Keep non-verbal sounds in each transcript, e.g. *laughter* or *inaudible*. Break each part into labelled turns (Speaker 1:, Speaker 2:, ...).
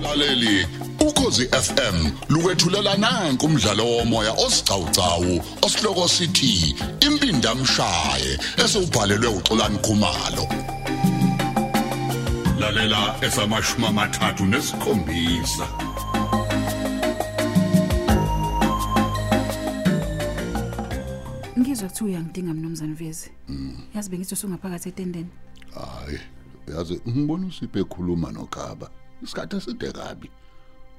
Speaker 1: mlaleli ukhosi FM lukwethulela nanku umdlalo womoya osiqhawqhawo osihloko sithi impindi amshaye esubhalelwe uXolani Khumalo lalela esamashuma amathathu nesikhombisa
Speaker 2: Ngizwa kuthi uyangidinga mnumzane Vezi. Yazi bengithi usungaphakathi etendeni.
Speaker 1: hayi yazi ngibona usiphe ekhuluma nokhaba isikhathe side kabi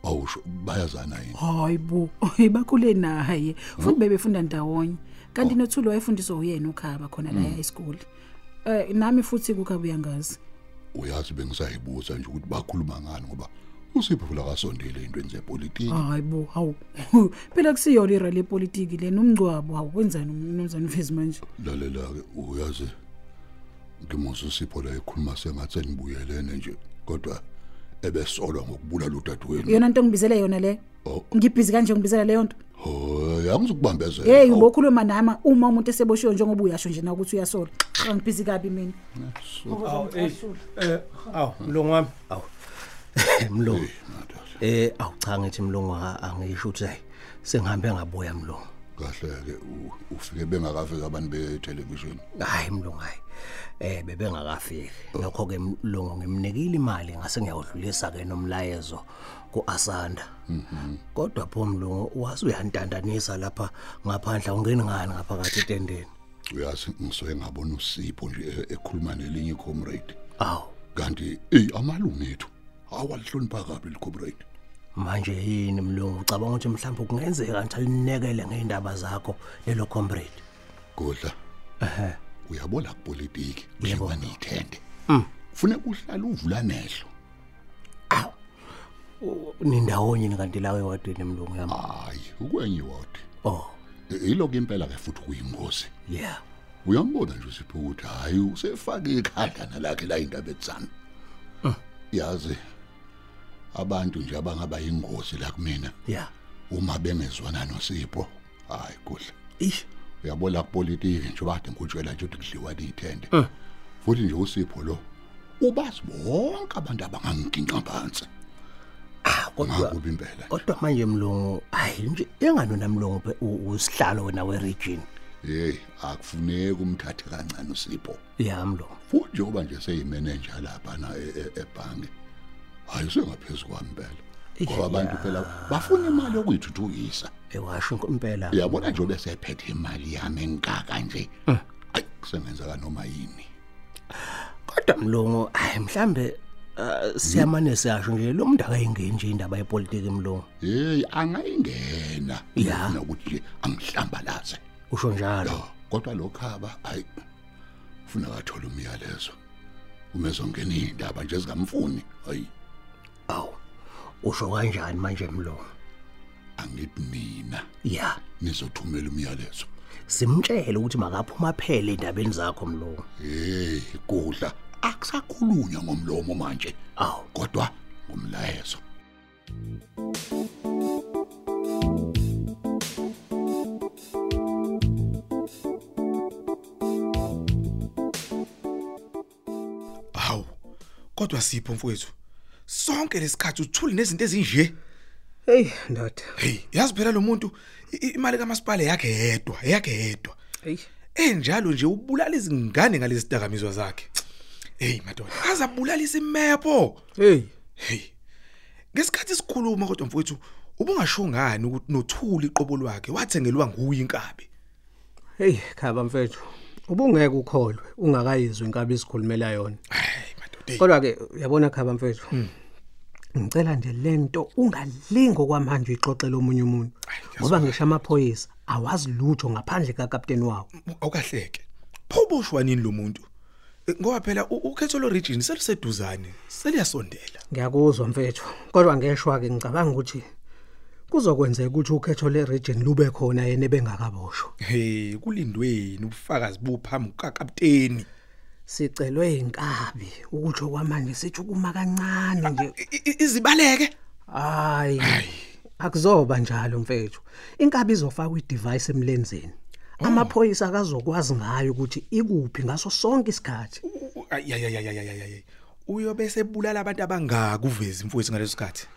Speaker 1: awusho bayazana yini
Speaker 2: Hayi bo, *laughs* bakhule naye. Futhi bebefunda ndawonye. Kanti nothuli wayefundiswa uyena ukhaba khona la esikole. Eh nami futhi kukhaba uyangazi.
Speaker 1: uyazi bengisayibuza nje ukuthi bakhuluma ngani ngoba usipho vula kasondele intweni zepolitiki
Speaker 2: Hayi bo, hawu. *laughs* Phela kusiyona irally yepolitiki lena umgcwabo, hawu kwenzani mnumzane Vezi manje?
Speaker 1: lalela-ke uyazi ngimoza usipho la ekhuluma sengathi enibuyelene nje kodwa ebesolwa ngokubulala udadewenu
Speaker 2: Yona into ngibizele yona le.
Speaker 1: Oh.
Speaker 2: Ngibhizi kanje ngibizela le nto.
Speaker 1: hoy angizukubambezela Oh,
Speaker 2: Hey
Speaker 1: Awu,
Speaker 2: ubokhuluma nama uma umuntu eseboshiwe njengoba uyasho nje na ukuthi uyasola. Ngibhizi kabi mina.
Speaker 3: Aw eh eh aw mlungu wami aw *laughs* mlungu
Speaker 1: hey, madoda.
Speaker 3: eh aw cha ngithi mlungu a- angisho ukuthi hayi sengihambe ngaboya mlungu
Speaker 1: kahle-ke u- ufike bengakafika abantu bethelevishini
Speaker 3: hayi mlungu hayi eh bebengakafiki lokho ke mlungu ngimnikile imali ngase ngiyawudlulisa ke nomlayezo kuAsanda kodwa pho mlungu wase uyantandanisa lapha ngaphandle ungeni ngani ngaphakathi etendeni
Speaker 1: uyazi ngisuke ngabona usipho nje e- ekhuluma nelinye icomrade
Speaker 3: aw
Speaker 1: kanti eyi amalungu ethu awalihlonipha kabi licomrade
Speaker 3: manje yini mlungu ucabanga ukuthi mhlawumbe kungenzeka kanti alinekele ngeindaba zakho lelo comrade
Speaker 1: kodla
Speaker 3: ehe
Speaker 1: uyabola kupolitiki
Speaker 3: Yebo.
Speaker 1: njengoba niyithende funeka uhlale uvula nehlo
Speaker 3: nindawonye nikanti la ewadini mlungu yami
Speaker 1: hayi ukwenye iwodi
Speaker 3: oh
Speaker 1: yiloko impela ke futhi kuyingozi
Speaker 3: yeah
Speaker 1: uyambona nje usipho ukuthi hhayi usefake ikhadlana lakhe la indaba etsami
Speaker 3: Ah.
Speaker 1: yazi abantu nje abangaba yingozi la kumina
Speaker 3: yeah
Speaker 1: uma bengezwana nosipho hayi kuhle
Speaker 3: ish
Speaker 1: uyabola kupolitiki nje ubade ngikutshela nje ukuthi kudliwa liyithende
Speaker 3: Ah.
Speaker 1: futhi nje usipho lo ubazi bonke abantu abanganginqa phansi
Speaker 3: kodwa
Speaker 1: ngakubi impela
Speaker 3: kodwa manje mlungu hayi nje enganona mlungu phe- u- usihlalo wena we-region
Speaker 1: hey akufuneki umthathe kancane usipho
Speaker 3: yeah mlungu
Speaker 1: futhi njengoba nje seyimanager lapha na e- e- ebhange hayi usengaphezulu kwami impela ngoba abantu phela bafuna imali yokuyithuthukisa
Speaker 3: ewasho inko- impela
Speaker 1: uyabona nje obesephethe imali yami engaka nje ayi kusengenzeka noma yini
Speaker 3: kodwa mlungu hayi mhlambe uh, siyamane siyasho nje lo muntu akayingeni nje indaba yepolitiki mlungu
Speaker 1: hey angayingena
Speaker 3: Ya.
Speaker 1: nokuthi nje angihlambalaze
Speaker 3: usho njalo
Speaker 1: Oh, kodwa lokhaba hayi ufuna kathola umyalezo umezongena indaba nje ezingamfuni hayi
Speaker 3: awu usho kanjani manje mlungu
Speaker 1: angithi mina
Speaker 3: yeah
Speaker 1: nizothumela umyalezo
Speaker 3: simtshele ukuthi makaphuma phele endabeni zakho mlungu
Speaker 1: hey kudla akusakhulunywa ngomlomo manje
Speaker 3: awu
Speaker 1: kodwa ngomlayezo
Speaker 4: hawu kodwa sipho mfowethu sonke lesikhathi uthuli nezinto ezinje
Speaker 3: hey ndoda
Speaker 4: hey yazi phela lo muntu i- i- imali kamasipala yakhe yedwa yakhe yedwa
Speaker 3: hey
Speaker 4: enjalo nje ubulala izingane ngalezi dakamizwa zakhe hey madoda azabulalisa imepo
Speaker 3: hey
Speaker 4: hey ngesikhathi sikhuluma kodwa mfowethu ubungasho ngani ukuthi nothuli iqobo lwakhe wathengelwa nguye inkabi
Speaker 5: Hey khaba mfethu ubungeke ukholwe ungakayizwa inkabi isikhulumela yona
Speaker 4: hey madoda hey.
Speaker 5: kodwa ke uyabona khaba mfethu ngicela nje lento ungalingo kwamanje uyixoxele omunye umuntu ngoba ngisho amaphoyisa awazi lutho ngaphandle kakapteni wawo
Speaker 4: awukahleke phoboshwa nini lo muntu Eh, ngoba phela u- ukhetho lo region seliseduzane seliyasondela
Speaker 5: ngiyakuzwa mfethu kodwa ngeshwa ke ngicabanga ukuthi kuzokwenzeka ukuthi ukhetho leregion lube khona yena ebengakaboshwa
Speaker 4: hey kulindweni ubufakazi buphambi kukakapteni
Speaker 5: sicelwe inkabi ukutsho kwamanje sijukuma kancane nje
Speaker 4: I- i- izibaleke
Speaker 5: Hayi. Akuzoba njalo mfethu. Inkabi izofaka i-device emlenzeni. Amaphoyisa akazokwazi ngayo ukuthi ikuphi ngaso sonke isikhathi.
Speaker 4: ayayayayayayay uyobe sebulala abantu abangaka uvezi mfowethu ngaleso sikhathi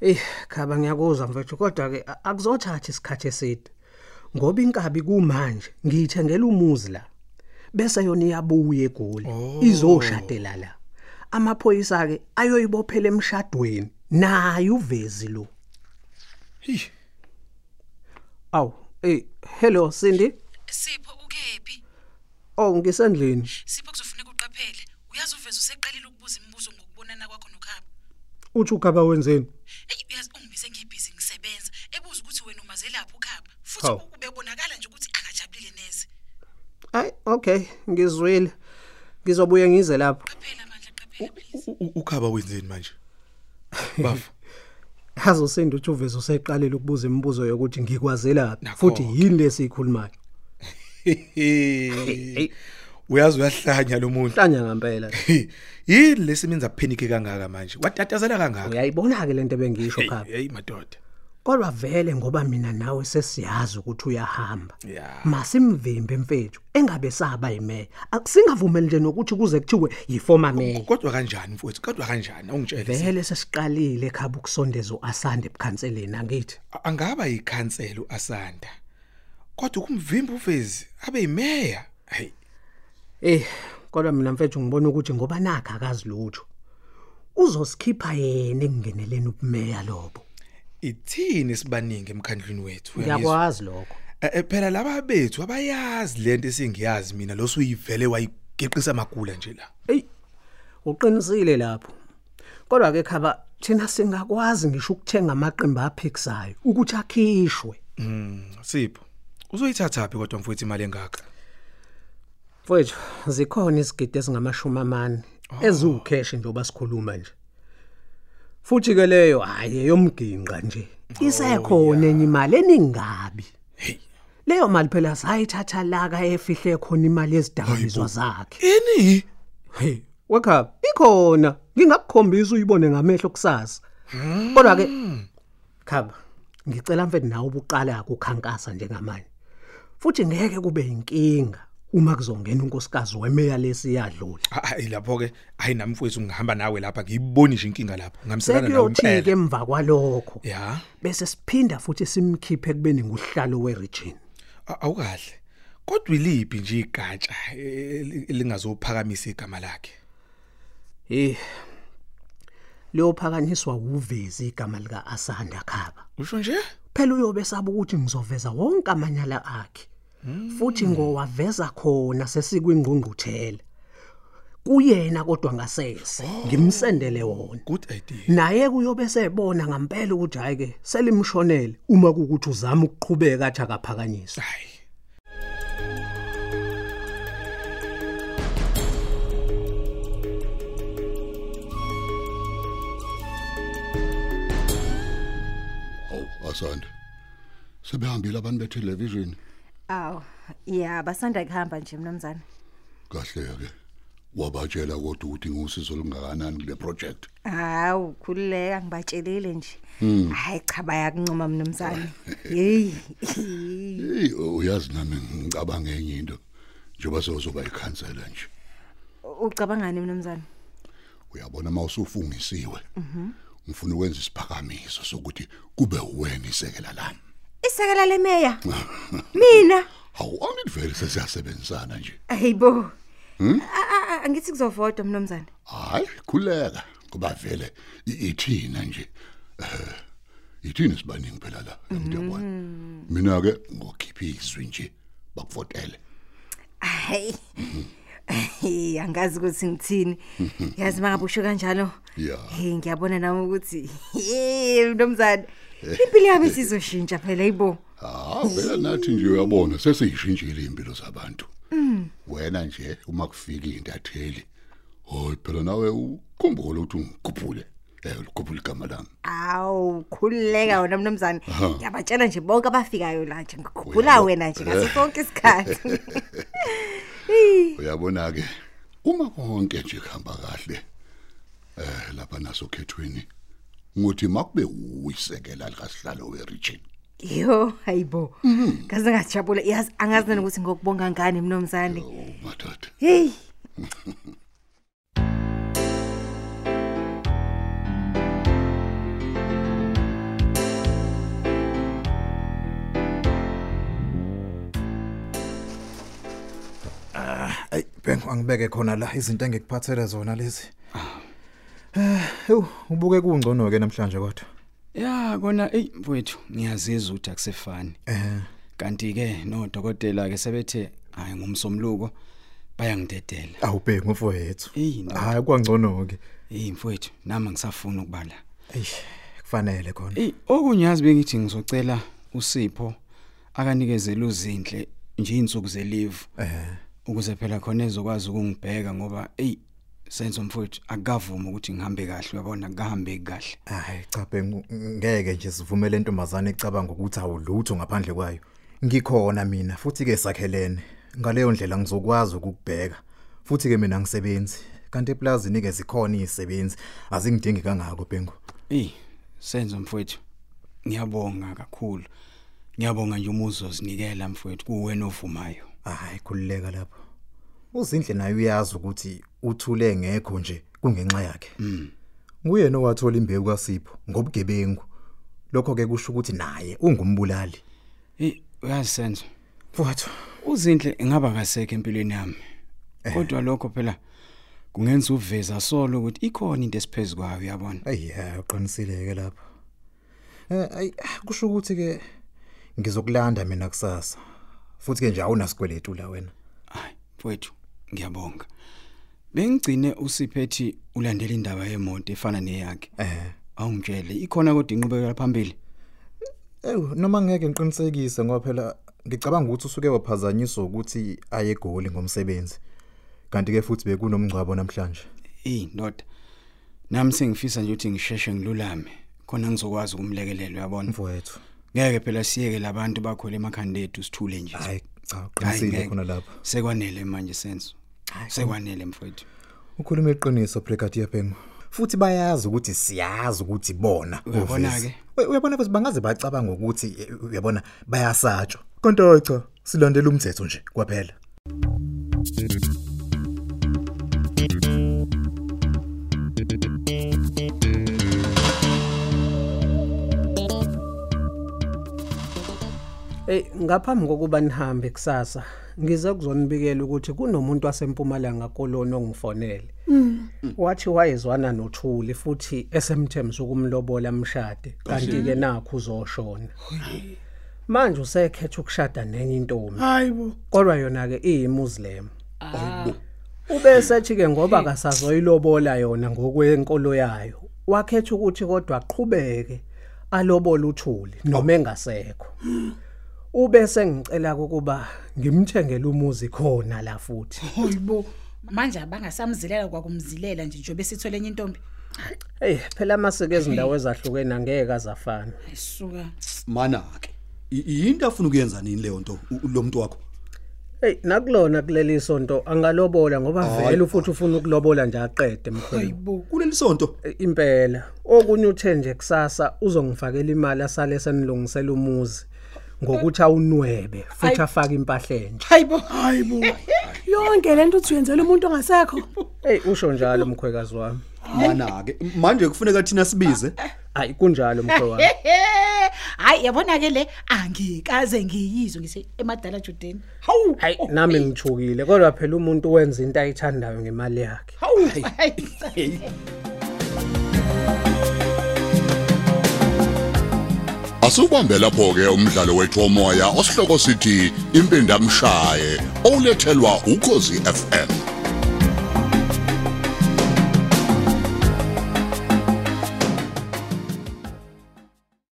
Speaker 5: Eh khaba ngiyakuzwa mfethu kodwa ke a- akuzothatha isikhathi eside. Ngoba inkabi kumanje ngiyithengela umuzi la. Bese yona iyabuya egoli. Izoshadela la. Amaphoyisa ke ayoyibophela emshadweni. Naye uvezi lo.
Speaker 4: Hi.
Speaker 5: Aw, eh hello Cindy.
Speaker 6: Sipho ukephi?
Speaker 5: Oh ngisendlini.
Speaker 6: Sipho kuzofuneka uqaphele. Uyazi uveze useqalile ukubuza imibuzo ngokubonana kwakho nokhaba.
Speaker 5: Uthi ugaba wenzeni?
Speaker 6: Eyi uyazi ungibise ngibhizi ngisebenza. Ebuza ukuthi wena umazelaphi ukhaba.
Speaker 5: Hawu.
Speaker 6: Futhi ubebonakala nje ukuthi akajabulile neze.
Speaker 5: Ay okay ngizwile. Ngizobuye ngize lapha.
Speaker 6: Qaphela amandla qaphela please.
Speaker 4: U- u- Ukhaba wenzeni manje? Bafu.
Speaker 5: Hazo sendu uthi uvezi useqalile ukubuza imibuzo yokuthi ngikwazelaphi
Speaker 4: Nakho-ke.
Speaker 5: futhi yini lesikhulumayo.
Speaker 4: Hehe. Uyazi uyahlanya lo muntu.
Speaker 5: Hlanya ngempela.
Speaker 4: Hi. Yini lesimenza phenike kangaka manje? Watatazela kangaka?
Speaker 5: Uyayibona ke lento bengisho khapha.
Speaker 4: Hey madoda.
Speaker 5: Kodwa vele ngoba mina nawe sesiyazi ukuthi uyahamba.
Speaker 4: Yeah.
Speaker 5: Masimvimbe mfethu engabe saba yimeya. Akusingavumeli nje nokuthi kuze kuthiwe yifoma meya.
Speaker 4: Kodwa kanjani mfowethu? Kodwa kanjani? Ungitshele.
Speaker 5: Vele sesiqalile khaba ukusondeza uAsande ebukhanseleni angithi.
Speaker 4: A- Angaba yikhansela uAsanda. Kodwa ukumvimba uvezi abe yimeya. Hey.
Speaker 5: Eh kodwa mina mfethu ngibona ukuthi ngoba nakha akazilutho. Uzosikhipha yena engeneleni ubumeya lobo.
Speaker 4: Ithini sibaningi emkhandlwini wethu? Uyangizwa?
Speaker 5: Ngiyakwazi lokho.
Speaker 4: Eh, eh, phela laba bethu abayazi lento esingiyazi mina losuyivele wayigeqisa amagula nje la
Speaker 5: Ey uqinisile lapho. Kodwa ke khaba thina singakwazi ngisho ukuthenga amaqembu aphikisayo ukuthi akhishwe.
Speaker 4: sipho uzoyithathaphi kodwa mfowethu imali engaka
Speaker 5: Mfowethu zikhona isigidi esingamashumi amane eziwukheshi njoba sikhuluma nje. Futhi ke leyo hayi eyomginqa nje. Isekhona enye imali eningabi. Leyo mali phela sayithatha la ka efihle khona imali ezidakamizwa zakhe.
Speaker 4: ini
Speaker 5: Hey, wakhaba ikhona. Ngingakukhombisa uyibone ngamehlo kusasa. Kodwa ke khaba ngicela mfethu nawe ubuqala ukukhankasa njengamanje. Futhi ngeke kube inkinga uma kuzongena unkosikazi wemeya lesi yadlula.
Speaker 4: hayi lapho ke hayi nami mfowethu ngihamba nawe lapha ngiyiboni nje inkinga lapho ngamselana nawe
Speaker 5: Sekuyothi ke
Speaker 4: impela
Speaker 5: emva kwalokho
Speaker 4: ya
Speaker 5: bese siphinda futhi simkhiphe kubeni nguhlalo weregion.
Speaker 4: a- awukahle kodwa iliphi nje igatsha eh, elingazophakamisa igama lakhe
Speaker 5: Eh Lo phakanyiswa uvezi igama lika Asanda khaba.
Speaker 4: usho nje
Speaker 5: phela uyobe saba ukuthi ngizoveza wonke amanyala akhe futhi ngowaveza khona sesikwingqungquthela kuyena kodwa ngasese ngimsendele wona
Speaker 4: good idea
Speaker 5: naye kuyobe sebona ngempela ukuthi hayi ke selimshonele uma kukuthi uzama ukuqhubeka athi akaphakanyiswa
Speaker 4: hayi
Speaker 1: Hawu asanda. Sebehambile abantu betelevision
Speaker 7: Aw, yeah, basanda kuhamba nje mnumzane.
Speaker 1: kahle ke. Wabatshela kodwa ukuthi ngusizo olungakanani kule project.
Speaker 7: Hawu, khulileka ngibatshelile nje. Hayi cha bayakuncoma mnumzane. Hey.
Speaker 1: Hey uyazi nami ngicabanga enye into. Njoba sozoba ikhansela nje.
Speaker 7: Ucabangani mnumzane?
Speaker 1: Uyabona mawusufungisiwe. Mhm. Ngifuna ukwenza isiphakamiso sokuthi kube wena isekela lami.
Speaker 7: Isekela lemeya. Mina.
Speaker 1: Hawu angidivele sesiyasebenzisana nje.
Speaker 7: Hayibo. A- a- a- Angithi kuzovota mnumzane.
Speaker 1: Hayi khuleka kuba vele i- ithina nje. Eh, Ithina sibaningi phela la emntebona. Mina ke ngokhipha izwi nje bakuvotele.
Speaker 7: Hayi. Hey, angazi ukuthi ngithini. Yazi mangabusho kanjalo.
Speaker 1: Ya.
Speaker 7: Hey, ngiyabona nami ukuthi *laughs* hey mnumzane. Impilo yami sizoshintsha phela yibo.
Speaker 1: Ah vele nathi nje uyabona sesiyishintshile impilo zabantu. Wena nje uma kufika intatheli. Hoyi phela nawe ukhumbule ukuthi ungikhuphule. Eh ukhuphule igama lami.
Speaker 7: Aw, khulileka wena mnumzane. Ngiyabatshela nje bonke abafikayo la nje ngikhumbula
Speaker 1: Uyabo-
Speaker 7: wena nje ngaso
Speaker 1: Eh.
Speaker 7: sonke isikhathi.
Speaker 1: Uyabona ke uma konke nje kuhamba kahle eh lapha naso khethweni ngothi makube uyisekela likasihlalo weRichard
Speaker 7: Yo, hayibo. Kaze ngajabula. Yazi angazi nani ukuthi ngokubonga ngani mnumzane.
Speaker 1: oh madoda
Speaker 7: Hey.
Speaker 8: angibeke khona la izinto engikuphathele zona lezi.
Speaker 4: Ah.
Speaker 8: Eh, ewu, ubuke kungcono ke namhlanje kodwa.
Speaker 9: Ya kona ey mfowethu ngiyazizwa ukuthi akusefani. Eh. Kanti ke nodokotela ke sebethe hayi ngumsomluko bayangidedela.
Speaker 8: Awubheki mfowethu.
Speaker 9: Eyi, ndoda.
Speaker 8: Hayi kwangcono ke.
Speaker 9: Hey mfowethu nami ngisafuna ukubala.
Speaker 8: Eish, kufanele khona.
Speaker 9: Ey okunyazi bengithi ngizocela uSipho akanikezele uzinhle nje insuku zelive.
Speaker 8: Eh.
Speaker 9: Ukuze phela khona ezokwazi ukungibheka ngoba ey senzo mfowethu akukavuma ukuthi ngihambe kahle uyabona akahambe kahle.
Speaker 8: Hayi cha be ngu- ngeke nje sivumele intombazane icabanga ukuthi awulutho ngaphandle kwayo. Ngikhona mina futhi ke sakhelene. Ngaleyo ndlela ngizokwazi ukukubheka. Futhi ke mina ngisebenzi. Kanti eplazini ke zikhona izisebenzi azingidingi kangako bengu.
Speaker 9: Ey senzo mfowethu ngiyabonga kakhulu. Ngiyabonga nje umuzo zinikela mfowethu kuwena ovumayo.
Speaker 8: Hayi khulileka lapho. Uzindle naye uyazi ukuthi uthule ngekho nje kungenxa yakhe. Mhm. Nguyena owathola imbewu kaSipho ngobugebengu. Lokho ke kusho ukuthi naye ungumbulali.
Speaker 9: Ey uyazi senzo
Speaker 8: Mfowethu,
Speaker 9: uzinhle engaba kasekho empilweni yami kodwa lokho phela kungenza uveza solo ukuthi ikhona into esiphezukwayo uyabona
Speaker 8: Ayiya, uqinisile ke lapho. Eh ay kusho ukuthi ke ngizokulanda mina kusasa. Futhi ke nje awunasikweletu la wena.
Speaker 9: hayi mfowethu ngiyabonga bengigcine usiphethi ulandela indaba yemoto efana neyakhe
Speaker 8: Eh.
Speaker 9: awungitshele ikhona kodwa inqubekela phambili
Speaker 8: Ewu noma ngeke ngiqinisekise ngoba phela ngicabanga ukuthi usuke waphazanyiswa ukuthi aye egoli ngomsebenzi. Kanti ke futhi bekunomgcwabo namhlanje.
Speaker 9: eyi ndoda nami sengifisa nje ukuthi ngisheshe ngilulame khona ngizokwazi ukumlekelela uyabona
Speaker 8: Mfowethu.
Speaker 9: ngeke phela siyeke labantu bakhole emakhanda ethu sithule nje
Speaker 8: Hayi cha
Speaker 9: Hayi,
Speaker 8: uqinisile
Speaker 9: ngeke.
Speaker 8: khona lapho.
Speaker 9: sekwanele manje senzo sekwanele mfowethu
Speaker 8: Ukhuluma iqiniso Brigadier Bengu. Futhi bayazi ukuthi siyazi ukuthi bona
Speaker 9: Uyabona
Speaker 8: uvezi.
Speaker 9: ke?
Speaker 8: Uy- Uyabona futhi bangaze bacabanga ukuthi eh, uyabona bayasatshwa. Konke cha silandela umthetho nje kwaphela.
Speaker 5: Ey Eh, ngaphambi kokuba nihambe kusasa ngize kuzonibikela ukuthi kunomuntu wasempumalanga kolona ongifonele. Wathi wayezwana noThuli futhi esemthembiso ukumlobola amshade kanti ke nakho uzoshona. Manje usekhetha ukushada nenye intombi.
Speaker 4: Hayibo.
Speaker 5: Kodwa yona ke iyiMuslim. Ubese athi ke ngoba kasazoyilobola yona ngokwenkolo yayo. Wakhetha ukuthi kodwa aqhubeke alobola uThuli noma engasekho. Ubese ngicela ukuba ngimthengele umuzi khona la futhi.
Speaker 2: hoyibo manje abangasamzilela kwakumzilela nje njengoba esithole enye intombi
Speaker 5: Hey phela amasike ezindawo ezahlukene angeke azafana.
Speaker 2: ayisuka
Speaker 10: mana ke yinto afuna ukuyenza nini leyo nto u- lo muntu wakho
Speaker 5: Hey nakulona kuleli sonto angalobola ngoba vele futhi ufuna ukulobola nje aqede mkhulu.
Speaker 10: kuleli sonto
Speaker 5: impela okunye uthe nje kusasa uzongifakela imali asale senilungisela umuzi ngokuthi awunwebe futhi afake impahla entsha
Speaker 2: hayibo
Speaker 11: Yonke lento uthi uyenzela umuntu ongasekho.
Speaker 5: hey usho njalo mkhwekazi wami
Speaker 10: mana ke manje kufuneka thina sibize
Speaker 5: hayi kunjalo mkhwe wami
Speaker 2: hayi yabona ke le angikaze ngiyizwe ngise emadala Jordan hawu
Speaker 5: hayi nami ngithukile kodwa phela umuntu wenza into ayithandayo ngemali yakhe
Speaker 1: Asubambe lapho ke umdlalo wethu omoya osihloko sithi impindamshaye olethelwa ukozi FM.